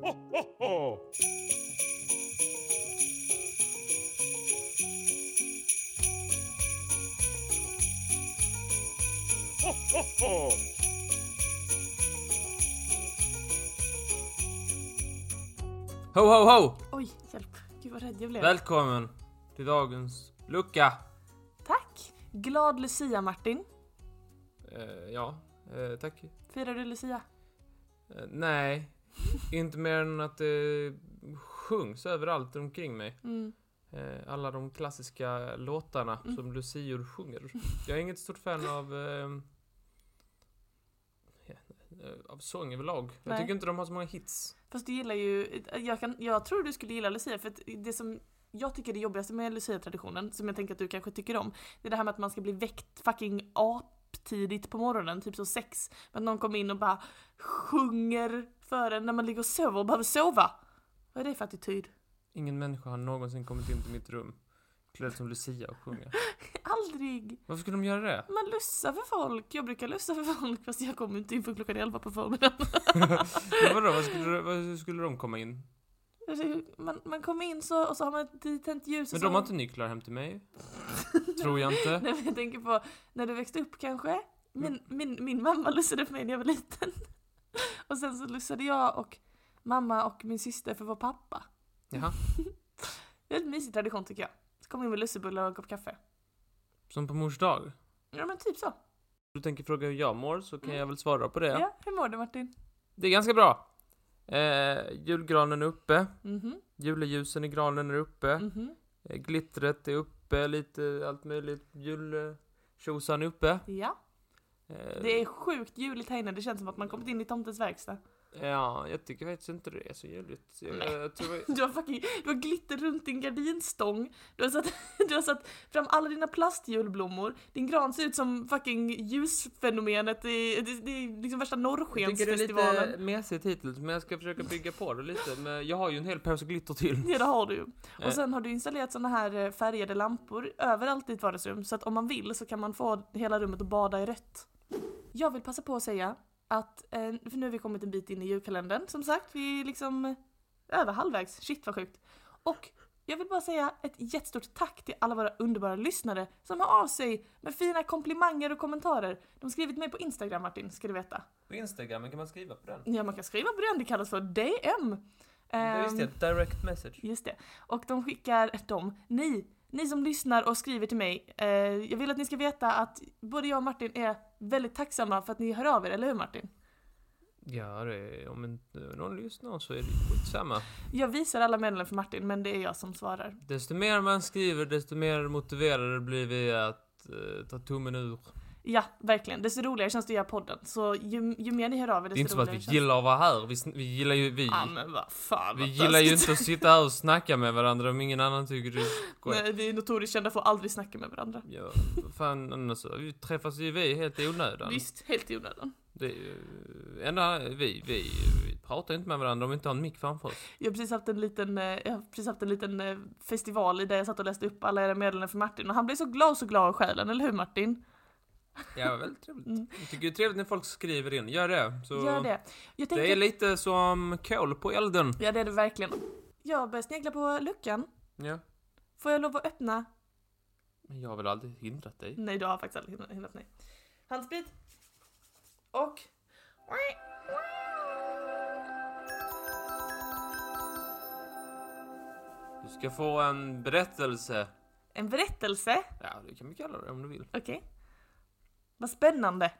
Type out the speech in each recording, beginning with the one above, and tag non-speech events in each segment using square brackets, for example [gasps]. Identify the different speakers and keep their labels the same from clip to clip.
Speaker 1: ho, ho! Ho, ho, ho!
Speaker 2: Ho ho ho!
Speaker 3: Oj, hjälp. Gud vad rädd jag blev.
Speaker 2: Välkommen till dagens lucka.
Speaker 3: Tack! Glad Lucia Martin.
Speaker 2: Eh, ja, eh, tack.
Speaker 3: Firar du Lucia?
Speaker 2: Eh, nej, inte mer än att det sjungs överallt omkring mig.
Speaker 3: Mm.
Speaker 2: Eh, alla de klassiska låtarna som lucior sjunger. Jag är inget stort fan av eh, eh, av sång överlag. Jag
Speaker 3: Nej.
Speaker 2: tycker inte de har så många hits.
Speaker 3: Fast du gillar ju, jag, kan, jag tror du skulle gilla Lucia för att det som jag tycker är det jobbigaste med Lucia-traditionen, som jag tänker att du kanske tycker om, det är det här med att man ska bli väckt fucking aptidigt på morgonen, typ så sex. Men någon kommer in och bara sjunger för en när man ligger och sover och behöver sova. Vad är det för attityd?
Speaker 2: Ingen människa har någonsin kommit in till mitt rum klädd som lucia och sjunga.
Speaker 3: Aldrig!
Speaker 2: Varför skulle de göra det?
Speaker 3: Man lussar för folk, jag brukar lussa för folk fast jag kommer inte in för klockan 11 på förmiddagen.
Speaker 2: Men vadå, vad skulle, vad skulle de komma in?
Speaker 3: Alltså, Man, man kommer in så, och så har man ett tänt ljus och
Speaker 2: Men
Speaker 3: så...
Speaker 2: de har inte nycklar hem till mig. Tror jag inte.
Speaker 3: [laughs] Nej men jag tänker på när du växte upp kanske. Min, min, min mamma lussade för mig när jag var liten. [laughs] Och sen så lussade jag och mamma och min syster för vår pappa. [laughs]
Speaker 2: Jaha.
Speaker 3: Det är en mysig tradition tycker jag. Så kom in med lussebullar och en kopp kaffe.
Speaker 2: Som på mors dag.
Speaker 3: Ja men typ så.
Speaker 2: Du tänker fråga hur jag mår så kan
Speaker 3: Mm.
Speaker 2: jag väl svara på det.
Speaker 3: Ja, hur mår du Martin?
Speaker 2: Det är ganska bra. Eh, julgranen är uppe.
Speaker 3: Mhm,
Speaker 2: Juleljusen i granen är uppe.
Speaker 3: mhm.
Speaker 2: Eh, glittret är uppe. Lite allt möjligt. Jultjosan är uppe.
Speaker 3: Ja.
Speaker 2: Eh,
Speaker 3: Det är sjukt juligt här inne, det känns som att man kommit in i tomtens verkstad.
Speaker 2: Ja, jag tycker faktiskt inte det är så juligt. Jag,
Speaker 3: Nej.
Speaker 2: jag tror...
Speaker 3: [laughs] Du har, fucking, du har glitter runt din gardinstång, du har, satt, [laughs] du har satt fram alla dina plastjulblommor, din gran ser ut som fucking ljusfenomenet, i, det, det är liksom värsta
Speaker 2: Jag tycker det är
Speaker 3: norrskensfestivalen.
Speaker 2: lite mesigt hittills, men jag ska försöka bygga på det lite. Men jag har ju en hel påse glitter till.
Speaker 3: [laughs] Ja det har du ju.
Speaker 2: Eh.
Speaker 3: Och sen har du installerat såna här eh, färgade lampor överallt i ditt vardagsrum så att om man vill så kan man få hela rummet att bada i rött. Jag vill passa på att säga att, eh, för nu har vi kommit en bit in i julkalendern som sagt, vi är liksom eh, över halvvägs, shit vad sjukt. Och jag vill bara säga ett jättestort tack till alla våra underbara lyssnare som hör av sig med fina komplimanger och kommentarer. De har skrivit mig på Instagram Martin, ska du veta.
Speaker 2: På Instagram kan man skriva på den.
Speaker 3: Ja man kan skriva på den, det kallas för DM.
Speaker 2: Ja, Just
Speaker 3: Ehm,
Speaker 2: det, direct message.
Speaker 3: Just det. Och de skickar, de, ni, ni som lyssnar och skriver till mig. Eh, jag vill att ni ska veta att både jag och Martin är väldigt tacksamma för att ni hör av er, eller hur Martin?
Speaker 2: Ja, det är, om inte någon lyssnar så är det skitsamma.
Speaker 3: Jag visar alla meddelanden för Martin, men det är jag som svarar.
Speaker 2: Desto mer man skriver, desto mer motiverade blir vi att eh, ta tummen ur.
Speaker 3: Ja, verkligen. Desto roligare känns det att göra podden. Så ju, ju mer ni hör av er,
Speaker 2: Det är inte
Speaker 3: desto
Speaker 2: som att
Speaker 3: roligare
Speaker 2: vi
Speaker 3: känns
Speaker 2: gillar att vara här. Vi, sn- vi gillar ju vi.
Speaker 3: Ja, men vad fan
Speaker 2: Vi
Speaker 3: vad
Speaker 2: gillar ju
Speaker 3: taskigt.
Speaker 2: inte att sitta här och snacka med varandra om ingen annan tycker det
Speaker 3: [laughs]
Speaker 2: är skoj.
Speaker 3: Nej, vi är notoriskt kända för att aldrig snacka med varandra.
Speaker 2: Ja, fan annars så vi träffas ju vi helt i onödan.
Speaker 3: Visst, helt i onödan.
Speaker 2: Det är ju, enda, vi, vi, vi pratar inte med varandra om vi inte har en mick framför oss.
Speaker 3: Jag har precis haft en liten, eh, jag har precis haft en liten eh, festival i där jag satt och läste upp alla era meddelanden för Martin och han blev så glad så glad i själen, eller hur Martin?
Speaker 2: Ja, väldigt trevligt.
Speaker 3: Mm.
Speaker 2: Jag tycker det är trevligt när folk skriver in. Gör det. Så
Speaker 3: Gör det. Jag tänker,
Speaker 2: det är lite som kol på elden.
Speaker 3: Ja det är det verkligen. Jag börjar snegla på luckan.
Speaker 2: Ja.
Speaker 3: Får jag lov att öppna?
Speaker 2: Men jag har väl aldrig hindrat dig?
Speaker 3: Nej du har faktiskt aldrig hindrat- hindrat mig. Handsprit. Och...
Speaker 2: Du ska få en berättelse.
Speaker 3: En berättelse.
Speaker 2: Ja, det kan vi kalla det om du vill.
Speaker 3: Okej. Vad spännande.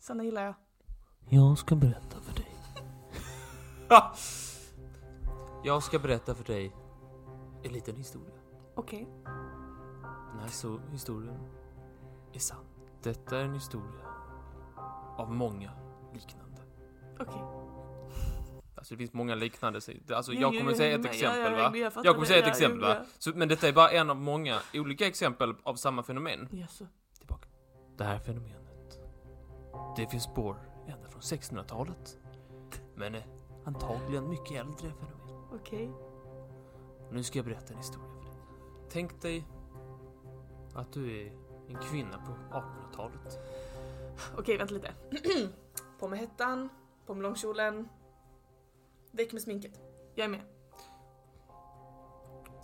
Speaker 3: Såna gillar jag.
Speaker 2: Jag ska berätta för dig. jag ska berätta för dig en liten historia.
Speaker 3: Okej.
Speaker 2: Den här histo- historien är sann. Detta är en historia av många liknande.
Speaker 3: Okej.
Speaker 2: Alltså det finns många liknande. så- Alltså
Speaker 3: Jo,
Speaker 2: jag
Speaker 3: jo,
Speaker 2: kommer
Speaker 3: jo,
Speaker 2: säga ett
Speaker 3: men- ja,
Speaker 2: exempel
Speaker 3: ja,
Speaker 2: va?
Speaker 3: jo, jag fattar
Speaker 2: Jag kommer
Speaker 3: det.
Speaker 2: säga ett
Speaker 3: Ja, jo,
Speaker 2: exempel va?
Speaker 3: ja.
Speaker 2: Så, men detta är bara en av många olika exempel av samma fenomen.
Speaker 3: Jaså?
Speaker 2: tillbaka. Det här fenomenet, det finns spår ända från 1600-talet. Men eh, antagligen mycket äldre fenomen.
Speaker 3: Okej.
Speaker 2: Nu ska jag berätta en historia för dig. Tänk dig att du är en kvinna på 1800-talet.
Speaker 3: [clears throat] Okej, vänta lite. på med hettan, på med långkjolen. Väck med sminket. Jag är med.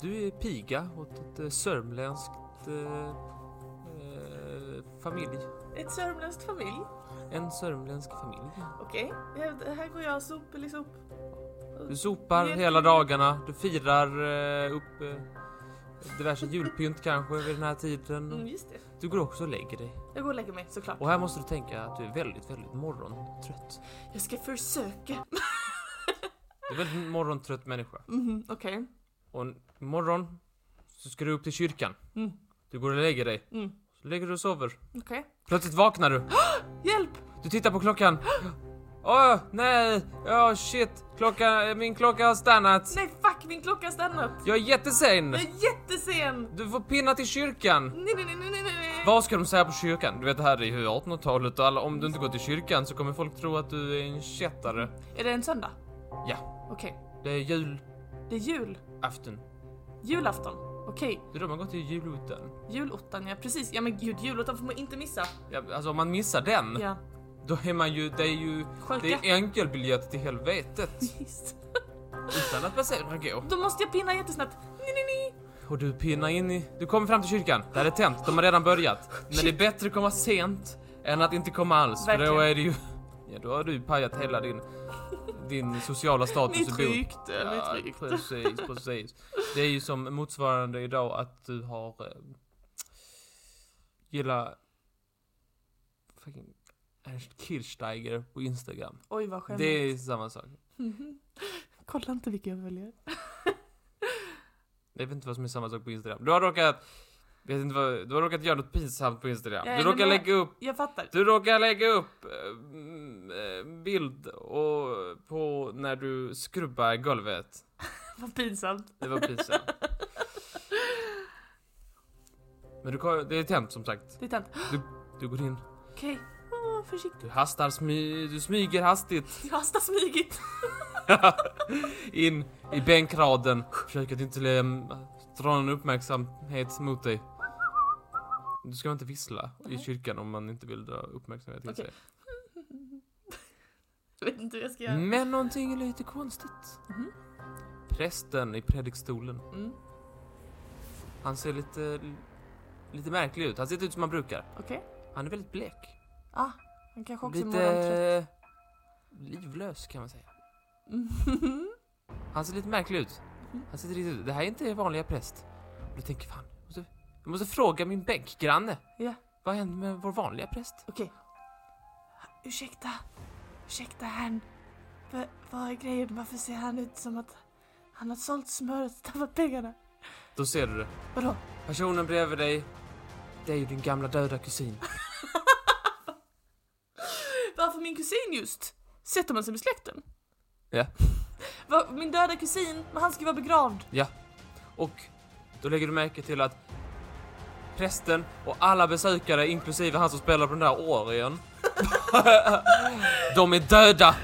Speaker 2: Du är piga åt ett eh, sörmländskt eh, eh, familj.
Speaker 3: Ett sörmländskt familj.
Speaker 2: En sörmländsk familj.
Speaker 3: Okej, här- här går jag sopel i sop.
Speaker 2: Du sopar
Speaker 3: Vet-
Speaker 2: hela dagarna, du firar eh, upp eh, diverse julpynt kanske vid den här
Speaker 3: Mm,
Speaker 2: tiden.
Speaker 3: just det.
Speaker 2: Du går också och lägger dig.
Speaker 3: Jag går och lägger mig såklart.
Speaker 2: Och här måste du tänka att du är väldigt, väldigt morgontrött.
Speaker 3: Jag ska försöka.
Speaker 2: Du är en väldigt morgontrött människa.
Speaker 3: Mhm, Okej.
Speaker 2: Och en- imorgon så ska du upp till kyrkan.
Speaker 3: Mm.
Speaker 2: Du går och lägger dig.
Speaker 3: Mm.
Speaker 2: Så lägger du och sover.
Speaker 3: Okej.
Speaker 2: Plötsligt vaknar du.
Speaker 3: Hjälp!
Speaker 2: Du tittar på klockan. Åh, nej! Ja, shit. Klocka, min klocka har stannat.
Speaker 3: Nej fuck, min klocka har stannat.
Speaker 2: Jag är jättesen.
Speaker 3: Jag är jättesen.
Speaker 2: Du får pinna till kyrkan.
Speaker 3: Nej, nej, nej, nej, nej, nej.
Speaker 2: Vad ska de säga på kyrkan? Du vet det här är ju 1800-talet och alla, om du inte går till kyrkan så kommer folk tro att du är en kättare.
Speaker 3: Är det en söndag?
Speaker 2: Ja.
Speaker 3: Okej.
Speaker 2: Det är julafton.
Speaker 3: Det är jul. Julafton. Okej.
Speaker 2: Det är då man går till juloten.
Speaker 3: Julottan, ja precis. Ja men gud, julottan får man inte missa.
Speaker 2: Ja, alltså om man missar den,
Speaker 3: Ja. [laughs]
Speaker 2: då är man ju, det är ju, det
Speaker 3: Sjuka.
Speaker 2: är enkelbiljett till helvetet.
Speaker 3: Visst.
Speaker 2: Utan att man säger gå.
Speaker 3: Då måste jag pinna jättesnabbt. Nej, nej, nej.
Speaker 2: Och du pinnar in i... Du kommer fram till kyrkan, där är tänt, de har redan börjat. Men det är bättre att komma sent än att inte komma alls, för då
Speaker 3: Verkligen.
Speaker 2: är det ju... Ja, då har du ju pajat hela din, din sociala status
Speaker 3: Mitt
Speaker 2: och bo-
Speaker 3: rykte, mitt rykte.
Speaker 2: precis, precis. Det är ju som motsvarande idag att du har... Eh, gilla... Fucking Ernst Kirchsteiger på Instagram.
Speaker 3: Oj vad skämt.
Speaker 2: Det är samma sak.
Speaker 3: Mhm. Kolla inte vilka jag väljer.
Speaker 2: Jag vet inte vad som är samma sak på Instagram. Du har råkat... Vet inte vad, du har råkat göra något pinsamt på Instagram.
Speaker 3: Ja,
Speaker 2: du
Speaker 3: men
Speaker 2: råkar
Speaker 3: jag-
Speaker 2: lägga upp...
Speaker 3: Jag fattar.
Speaker 2: Du råkar lägga upp eh, mm, eh, bild och, på när du skrubbar golvet.
Speaker 3: Vad pinsamt.
Speaker 2: Det var pinsamt. [laughs] Men du, kan- det är tänt som sagt.
Speaker 3: Det är tänt.
Speaker 2: Du går in,
Speaker 3: Okej. Åh, försiktigt.
Speaker 2: du hastar, smy, du smyger hastigt
Speaker 3: Jag hastar smygigt.
Speaker 2: [laughs] in i bänkraden. Försöker att inte um, dra någon uppmärksamhet mot dig. Du ska inte vissla i
Speaker 3: Nej.
Speaker 2: kyrkan om man inte vill dra uppmärksamhet till
Speaker 3: Okej.
Speaker 2: sig.
Speaker 3: Jag vet inte hur jag ska göra.
Speaker 2: Men någonting är lite konstigt.
Speaker 3: Mhm.
Speaker 2: Prästen i predikstolen,
Speaker 3: Mm.
Speaker 2: han ser lite, lite märklig ut. Han ser inte ut som han brukar.
Speaker 3: Okej.
Speaker 2: Han är väldigt blek.
Speaker 3: Ah, han kanske också är morgontrött.
Speaker 2: Lite livlös kan man säga. Han ser lite märklig ut. Han ser lite, det här är inte er vanliga präst. Och du tänker fan, jag måste, jag måste fråga min bänkgranne.
Speaker 3: Ja.
Speaker 2: Vad hände med vår vanliga präst?
Speaker 3: Okej. [laughs] Ursäkta. Ursäkta herrn. Va- vad är grejen? Varför ser han ut som att han har sålt smöret och tappat pengarna?
Speaker 2: Då ser du det.
Speaker 3: Vadå?
Speaker 2: Personen bredvid dig, det är ju din gamla döda kusin.
Speaker 3: Varför min kusin just? Sätter man sig med släkten?
Speaker 2: Ja.
Speaker 3: Va, min döda kusin, men han ska ju vara begravd.
Speaker 2: Och då lägger du märke till att prästen och alla besökare, inklusive han som spelar på den där orgeln, de är döda!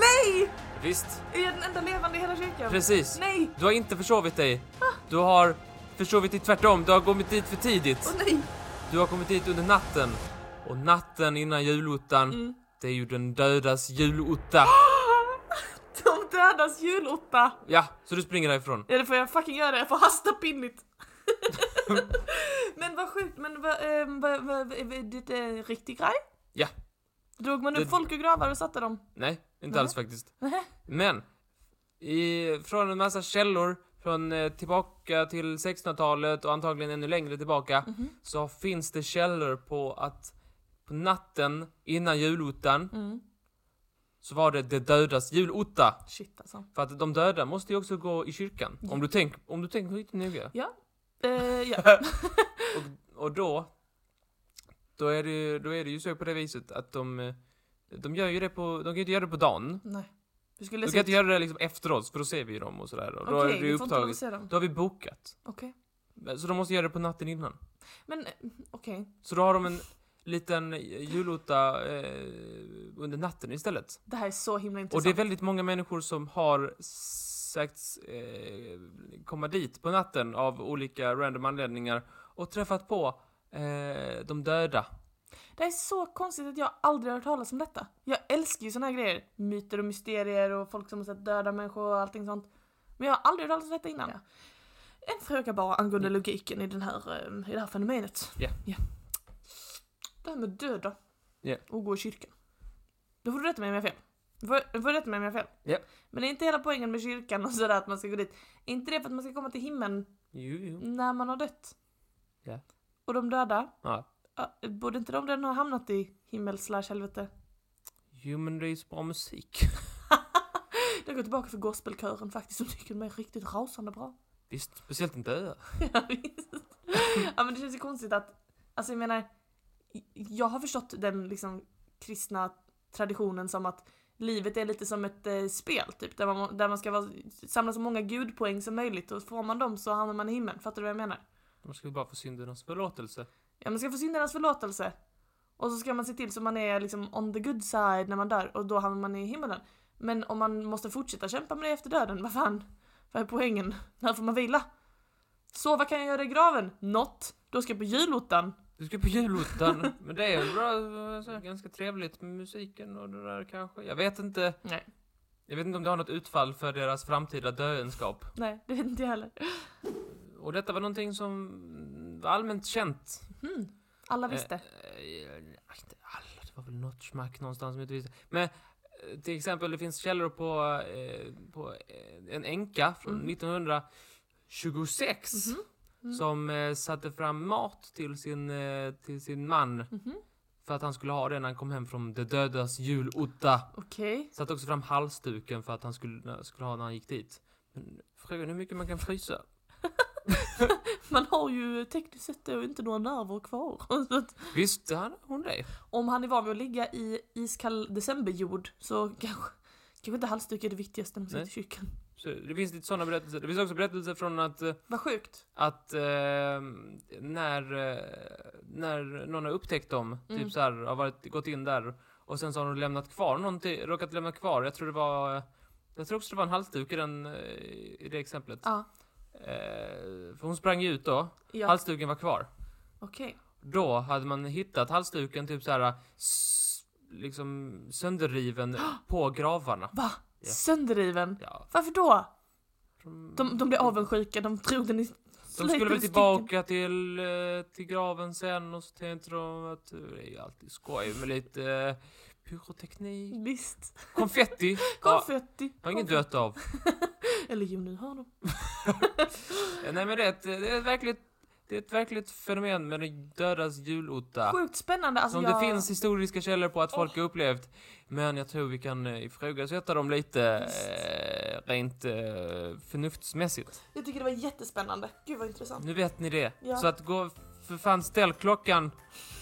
Speaker 3: Nej!
Speaker 2: Visst,
Speaker 3: Är jag den enda levande i hela kyrkan?
Speaker 2: precis.
Speaker 3: Nej!
Speaker 2: Du har inte försovit dig. Du har försovit dig tvärtom. Du har kommit dit för
Speaker 3: Åh
Speaker 2: tidigt.
Speaker 3: nej!
Speaker 2: Du har kommit dit under natten. Och natten innan julottan,
Speaker 3: Mm.
Speaker 2: det är ju den dödas julotta.
Speaker 3: De dödas julotta!
Speaker 2: Ja, så du springer därifrån.
Speaker 3: Ja det får jag fucking göra, jag får hasta [laughs] pinnigt. men vad sjukt, men vad, ehm, vad, vad, vad, är det är en riktig grej?
Speaker 2: Ja.
Speaker 3: Drog man upp
Speaker 2: Det-
Speaker 3: folk ur gravar och satte dem?
Speaker 2: Nej, inte
Speaker 3: Nej.
Speaker 2: alls faktiskt.
Speaker 3: Mm. Nej.
Speaker 2: Men, i, från en massa källor, från eh, tillbaka till 1600-talet och antagligen ännu längre tillbaka,
Speaker 3: Mhm.
Speaker 2: så finns det källor på att på natten innan julottan
Speaker 3: Mm.
Speaker 2: så var det det dödas julotta.
Speaker 3: Shit alltså.
Speaker 2: För att de döda måste ju också gå i kyrkan.
Speaker 3: Ja.
Speaker 2: Om du tänker om du tänker lite noga.
Speaker 3: Eh, ja.
Speaker 2: Och då, då är, det, då är det ju så på det viset att de, eh, de gör ju det på, de kan ju inte göra det på dagen.
Speaker 3: Nej. Vi
Speaker 2: De
Speaker 3: skulle
Speaker 2: kan
Speaker 3: se...
Speaker 2: inte göra det liksom efteråt för då ser vi ju dem och sådär. Och då
Speaker 3: Okej,
Speaker 2: är det ju
Speaker 3: vi får inte lov att
Speaker 2: upptaget.
Speaker 3: se dem.
Speaker 2: Då har vi bokat.
Speaker 3: Okej.
Speaker 2: Så de måste göra det på natten innan.
Speaker 3: Men eh, okej.
Speaker 2: Så då har de en liten julotta eh, under natten istället.
Speaker 3: Det här är så himla
Speaker 2: Och
Speaker 3: intressant.
Speaker 2: det är väldigt många människor som har sagts eh, komma dit på natten av olika random anledningar och träffat på eh, de döda.
Speaker 3: Det här är så konstigt att jag aldrig har hört talas om detta. Jag älskar ju såna här grejer. Myter och mysterier och folk som har sett döda människor och allting sånt. Men jag har aldrig hört talas om detta innan.
Speaker 4: Ja.
Speaker 3: En fråga bara angående logiken i, den här, eh, i det här fenomenet.
Speaker 2: Ja.
Speaker 3: Det här med döda
Speaker 2: Ja.
Speaker 3: och gå i kyrkan. Då får du rätta mig om jag har fel. Du får, du får rätta mig om jag har fel.
Speaker 2: Ja.
Speaker 3: Men är inte hela poängen med kyrkan och sådär att man ska gå dit? Är inte det för att man ska komma till himlen
Speaker 2: Jo, jo.
Speaker 3: när man har dött?
Speaker 2: Ja.
Speaker 3: Och de döda,
Speaker 2: Ja.
Speaker 3: ja, borde inte de redan ha hamnat i himmel slash helvete?
Speaker 2: Jo, men det är ju så bra musik.
Speaker 3: Jag går tillbaka för gospelkören faktiskt, som tycker de är riktigt rasande bra. [laughs]
Speaker 2: Visst, speciellt inte ö.
Speaker 3: Ja, visst. ja men det känns ju konstigt att, alltså jag menar, jag har förstått den liksom kristna traditionen som att livet är lite som ett eh, spel typ, där man, där man ska vara, samla så många gudpoäng som möjligt och får man dem så hamnar man i himlen, fattar du vad jag menar?
Speaker 2: Man ska väl bara få syndernas förlåtelse.
Speaker 3: Ja man ska få syndernas förlåtelse. Och så ska man se till så man är liksom on the good side när man dör och då hamnar man i himlen. Men om man måste fortsätta kämpa med det efter döden, vad fan? Vad är poängen? När får man vila? Sova kan jag göra i graven? Något. Då ska jag på julottan.
Speaker 2: Du ska på julottan, men det är ju bra, så här, ganska trevligt med musiken och det där kanske. Jag vet inte.
Speaker 3: Nej.
Speaker 2: Jag vet inte om det har något utfall för deras framtida döenskap.
Speaker 3: Nej, det vet inte jag heller.
Speaker 2: Och detta var någonting som var allmänt känt.
Speaker 3: Hmm. Alla visste.
Speaker 2: Eh, eh, inte alla, det var väl något smack någonstans som jag inte visste. Men eh, till exempel, det finns källor på, eh, på eh, en änka från
Speaker 3: Mhm.
Speaker 2: 1926
Speaker 3: Mhm.
Speaker 2: som eh, satte fram mat till sin, eh, till sin man
Speaker 3: Mhm.
Speaker 2: för att han skulle ha det när han kom hem från de dödas julotta.
Speaker 3: Okej.
Speaker 2: Satte också fram halsduken för att han skulle, eh, skulle ha när han gick dit. Men frågan är hur mycket man kan frysa?
Speaker 3: Man har ju tekniskt sett då inte några nerver kvar. [laughs] Så att
Speaker 2: Visste han, hon det?
Speaker 3: Om han är van vid att ligga i iskall decemberjord så kanske, kanske inte halsduk är det viktigaste när man sitter i
Speaker 2: Nej.
Speaker 3: kyrkan.
Speaker 2: Så det finns lite sådana berättelser. Det finns också berättelser från att eh,
Speaker 3: Vad sjukt.
Speaker 2: att eh, när, eh, när någon har upptäckt dem,
Speaker 3: Mm.
Speaker 2: typ så här, har varit, gått in där och sen så har de lämnat kvar någonting, råkat lämna kvar, jag tror det var, eh, jag tror också det var en halsduk i, den, eh, i det exemplet.
Speaker 3: Ja.
Speaker 2: Eh, för hon sprang ju ut då,
Speaker 3: Ja,
Speaker 2: halsduken var kvar.
Speaker 3: okej.
Speaker 2: Då hade man hittat halsduken typ så här, s- liksom
Speaker 3: [gasps]
Speaker 2: sönderriven på gravarna.
Speaker 3: Va?
Speaker 2: Ja.
Speaker 3: Sönderriven?
Speaker 2: Ja.
Speaker 3: Varför då?
Speaker 2: De,
Speaker 3: De, de blev avundsjuka, de drog den i
Speaker 2: Mm. De
Speaker 3: släkten
Speaker 2: skulle
Speaker 3: i
Speaker 2: väl
Speaker 3: stycken.
Speaker 2: tillbaka till, eh, till graven sen och så tänkte de att det är ju alltid skoj med lite eh, pyroteknik.
Speaker 3: Visst. [laughs]
Speaker 2: Konfetti! Ja,
Speaker 3: Mm. Konfetti.
Speaker 2: har ingen
Speaker 3: Konfetti.
Speaker 2: dött av.
Speaker 3: Eller jo, nu har de.
Speaker 2: Eh, Nej men det är ett, det är ett, verkligt, det är ett verkligt fenomen med den dödas julotta.
Speaker 3: Sjukt spännande. Alltså
Speaker 2: Som
Speaker 3: jag...
Speaker 2: det finns historiska källor på att folk har upplevt. Men jag tror vi kan eh, ifrågasätta dem lite eh, rent eh, förnuftsmässigt.
Speaker 3: Jag tycker det var jättespännande. Gud vad intressant.
Speaker 2: Nu vet ni det.
Speaker 3: Ja.
Speaker 2: Så att gå, för fan ställ klockan.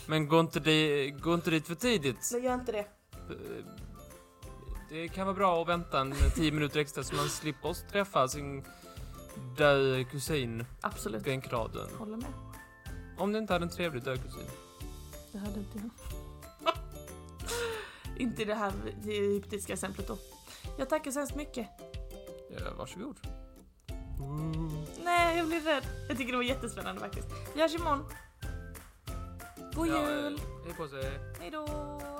Speaker 2: Men gå inte, di, gå inte dit för tidigt.
Speaker 3: Nej, gör inte det.
Speaker 2: Eh, Det kan vara bra att vänta en tio minuter extra så man slipper oss träffa sin död kusin
Speaker 3: Absolut.
Speaker 2: bänkraden.
Speaker 3: Håller med.
Speaker 2: Om du inte hade en trevlig död kusin.
Speaker 3: Det hade inte [laughs] jag. inte i det här egyptiska exemplet då. Jag tackar så hemskt mycket.
Speaker 2: Ja, varsågod.
Speaker 3: Nej, jag blev rädd. Jag tycker det var jättespännande faktiskt. Vi hörs imorgon. God
Speaker 2: Ja,
Speaker 3: jul!
Speaker 2: eh, Hej på sig.
Speaker 3: Hej då!